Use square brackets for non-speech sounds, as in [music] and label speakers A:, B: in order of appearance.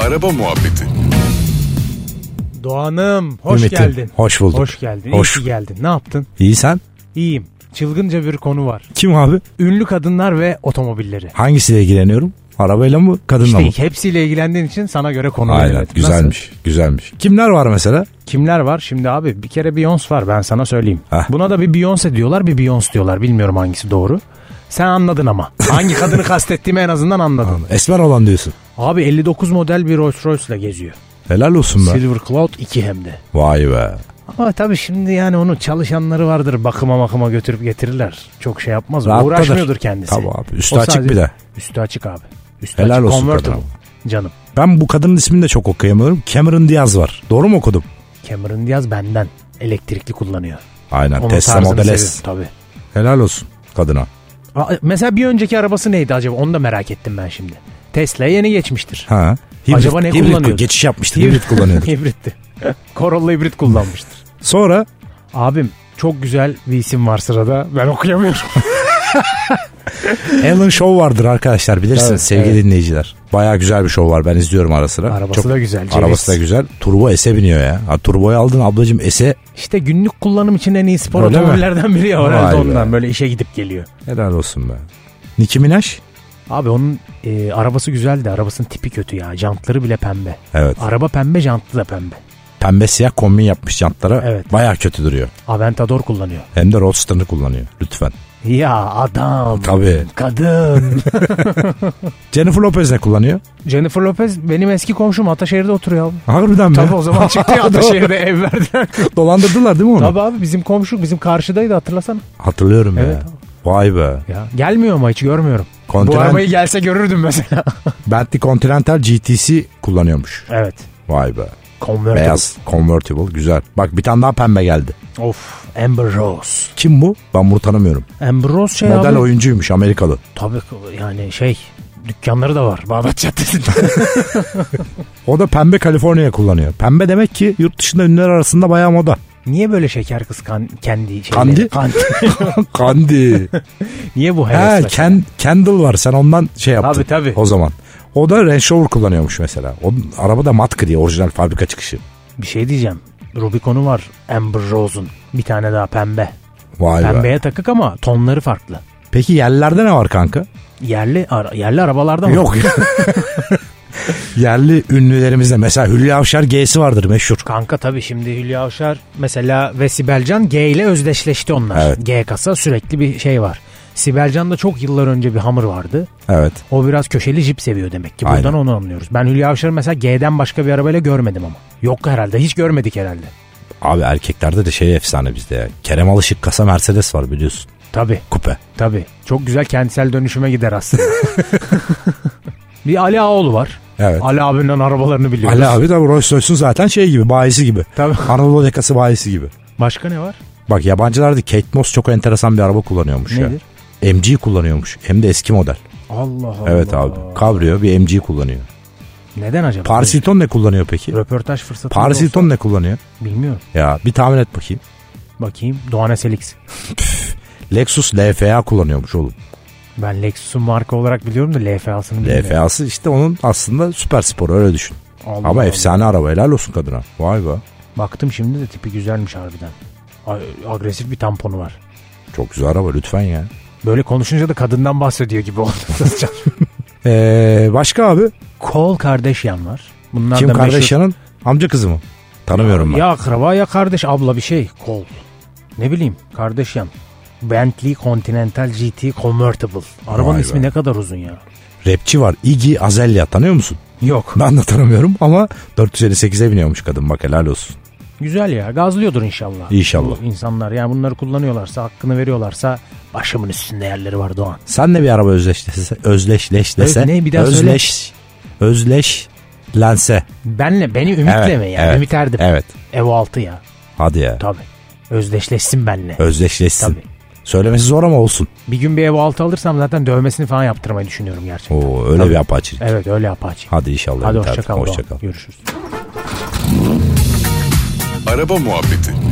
A: Araba muhabbeti.
B: Doğan'ım hoş
C: Ümit'im,
B: geldin.
C: hoş bulduk.
B: Hoş geldin.
C: Hoş.
B: İyi ki geldin. Ne yaptın?
C: İyi sen?
B: İyiyim. Çılgınca bir konu var.
C: Kim abi?
B: Ünlü kadınlar ve otomobilleri.
C: Hangisiyle ilgileniyorum? Arabayla mı kadınla mı?
B: İşte hepsiyle ilgilendiğin için sana göre konu
C: Aynen
B: belirledim. Nasıl?
C: güzelmiş güzelmiş. Kimler var mesela?
B: Kimler var? Şimdi abi bir kere Beyoncé var ben sana söyleyeyim.
C: Heh.
B: Buna da bir Beyoncé diyorlar bir Beyoncé diyorlar. Bilmiyorum hangisi doğru. Sen anladın
C: [laughs]
B: ama. Hangi kadını kastettiğimi en azından anladın.
C: Esmer olan diyorsun.
B: Abi 59 model bir Rolls Royce'la geziyor.
C: Helal olsun be.
B: Silver Cloud 2 hem de.
C: Vay be.
B: Ama tabii şimdi yani onu çalışanları vardır bakıma makıma götürüp getirirler. Çok şey yapmaz.
C: Rahattadır.
B: Uğraşmıyordur kendisi.
C: Tabii abi. Üstü
B: O
C: açık
B: sadece-
C: bir de.
B: Üstü açık abi. Üstü
C: Helal
B: açık.
C: olsun
B: Convertible.
C: kadına.
B: Canım.
C: Ben bu kadının ismini de çok okuyamıyorum. Cameron Diaz var. Doğru mu okudum?
B: Cameron Diaz benden. Elektrikli kullanıyor.
C: Aynen.
B: Onun
C: Tesla
B: tarzını
C: Model
B: seviyorum
C: S.
B: Tabii.
C: Helal olsun kadına.
B: Aa, Mesela bir önceki arabası neydi acaba? Onu da merak ettim ben şimdi. Tesla'ya yeni geçmiştir.
C: Ha.
B: Acaba ne
C: hibrit
B: kullanıyordu?
C: Geçiş yapmıştı. Hibrit
B: [laughs]
C: kullanıyordu.
B: Hibritti. Corolla hibrit kullanmıştır.
C: [laughs] Sonra
B: Abim çok güzel bir isim var sırada. Ben
C: [laughs]
B: okuyamıyorum.
C: Alan Show vardır arkadaşlar bilirsiniz
B: Evet,
C: sevgili dinleyiciler. Baya güzel bir show var ben izliyorum ara sıra.
B: Arabası da güzel, ceviz.
C: Arabası da güzel. Turbo S'e biniyor ya. Ha, turboyu aldın ablacığım S'e
B: İşte günlük kullanım için en iyi spor
C: Öyle mi?
B: otomobillerden biri ya. Herhalde
C: Vay be.
B: ondan böyle işe gidip geliyor.
C: helal olsun be. Nicki Minaj?
B: Abi onun e, arabası güzel de arabasının tipi kötü ya. Jantları bile pembe.
C: Evet.
B: Araba pembe, jantlı da pembe.
C: Pembe siyah kombin yapmış jantlara.
B: Evet.
C: Baya kötü duruyor.
B: Aventador kullanıyor.
C: Hem de Roadster'ını kullanıyor lütfen.
B: Ya adam,
C: Tabii.
B: kadın.
C: Jennifer Lopez ne kullanıyor?
B: [laughs] Jennifer Lopez benim eski komşum Ataşehir'de oturuyor abi.
C: Harbiden mi?
B: Tabii o zaman çıktı [laughs] ya Ataşehir'de ev verdiler.
C: [laughs] Dolandırdılar değil mi onu?
B: Tabii abi bizim komşu bizim karşıdaydı hatırlasana.
C: Hatırlıyorum
B: Evet.
C: ya. Vay be.
B: Ya. Gelmiyor ama hiç görmüyorum. Bu
C: Continent-
B: arabayı gelse görürdüm mesela.
C: Bentley Continental GTC kullanıyormuş.
B: evet.
C: Vay be.
B: Convertible.
C: Beyaz convertible güzel. Bak bir tane daha pembe geldi.
B: Of Amber Rose.
C: Kim bu? Ben bunu tanımıyorum.
B: Amber Rose şey
C: Model
B: abi.
C: oyuncuymuş Amerikalı.
B: Tabii yani şey dükkanları da var [laughs] Bağdat Caddesi'nde.
C: O da pembe Kaliforniya kullanıyor. Pembe demek ki yurt dışında ünlüler arasında bayağı
B: [laughs]
C: moda.
B: Niye böyle şeker kız kan, kendi
C: Kandi?
B: şeyleri? Kandi.
C: Kandi.
B: [laughs] Niye bu
C: He,
B: hevesle?
C: Ken, Kendall var sen ondan şey yaptın.
B: Tabii, tabii.
C: O zaman. O da Range Rover kullanıyormuş mesela. O araba da mat gri orijinal fabrika çıkışı.
B: Bir şey diyeceğim. Rubicon'u var Amber Rose'un. Bir tane daha pembe.
C: Vay be.
B: Pembeye takık ama tonları farklı.
C: Peki yerlerde ne var kanka?
B: Yerli ara- yerli arabalarda mı?
C: Yok. [laughs] Yerli ünlülerimizde mesela Hülya Avşar G'si vardır meşhur.
B: Kanka tabii şimdi Hülya Avşar mesela ve Sibelcan G ile özdeşleşti onlar.
C: Evet.
B: G kasa sürekli bir şey var. Sibelcan'da çok yıllar önce bir hamur vardı.
C: Evet.
B: O biraz köşeli jip seviyor demek ki. Buradan
C: Aynen.
B: onu anlıyoruz. Ben Hülya Avşar'ı mesela G'den başka bir arabayla görmedim ama. Yok herhalde. Hiç görmedik herhalde.
C: Abi erkeklerde de şey efsane bizde ya. Kerem Alışık kasa Mercedes var biliyorsun.
B: Tabii
C: Kupe.
B: tabii. Çok güzel kentsel dönüşüme gider
C: [laughs]
B: aslında. bir Ali Ağoğlu var.
C: Evet.
B: Ali abinin arabalarını biliyoruz.
C: Ali abi de Rolls Royce'un zaten şey gibi bayisi gibi.
B: Tabii.
C: Anadolu yakası bayisi gibi.
B: Başka ne var?
C: Bak yabancılarda Kate Moss çok enteresan bir araba kullanıyormuş
B: Nedir?
C: ya. MG kullanıyormuş. Hem de eski model.
B: Allah Allah.
C: Evet abi. Cabrio bir MG kullanıyor.
B: Neden acaba?
C: Paris Hilton ne kullanıyor peki?
B: Röportaj fırsatı.
C: Paris Hilton ne kullanıyor?
B: Bilmiyorum.
C: Ya bir tahmin et bakayım.
B: Bakayım. Doğan Eselix.
C: Lexus LFA kullanıyormuş oğlum.
B: Ben Lexus'un marka olarak biliyorum da LFA'sını bilmiyorum.
C: LFA'sı işte onun aslında süper sporu öyle düşün.
B: Allah
C: Ama
B: Allah.
C: efsane araba helal olsun kadına. Vay be.
B: Baktım şimdi de tipi güzelmiş harbiden. A- Agresif bir tamponu var.
C: Çok güzel araba lütfen ya.
B: Böyle konuşunca da kadından bahsediyor gibi oldu. [laughs]
C: Ee, başka abi?
B: Kol Kardashian var. Bunlar
C: Kim
B: da meşhur-
C: Kardashian'ın amca kızı mı? Tanımıyorum ben.
B: Ya akraba ya kardeş abla bir şey. Kol. Ne bileyim Kardashian. Bentley Continental GT Convertible. Arabanın
C: Vay
B: ismi
C: be.
B: ne kadar uzun ya.
C: Rapçi var. Iggy Azalea tanıyor musun?
B: Yok.
C: [laughs] Ben de tanımıyorum ama 458'e biniyormuş kadın bak helal olsun.
B: Güzel ya. Gazlıyordur inşallah.
C: İnşallah.
B: Bu insanlar yani bunları kullanıyorlarsa, hakkını veriyorlarsa başımın üstünde yerleri var Doğan.
C: Sen de bir araba özdeşleşse, özdeşleşlese,
B: Öz- ne? Bir daha
C: özleş, özleş, lense.
B: Benle beni ümitleme ya.
C: evet,
B: Ümit Erdim.
C: Evet.
B: Ev altı ya.
C: Hadi ya.
B: Tabii. Özdeşleşsin benle.
C: Özdeşleşsin.
B: Tabii.
C: Söylemesi zor ama olsun.
B: Bir gün bir ev altı alırsam zaten dövmesini falan yaptırmayı düşünüyorum gerçekten.
C: Oo, öyle
B: Tabii.
C: bir apaçilik.
B: Evet öyle apaçi.
C: Hadi inşallah.
B: Hadi
C: Ümit
B: hoşça
C: Erdim.
B: kal.
C: Hoşça
B: Hoşça
C: kal.
B: Görüşürüz.
A: Araba muhabbeti.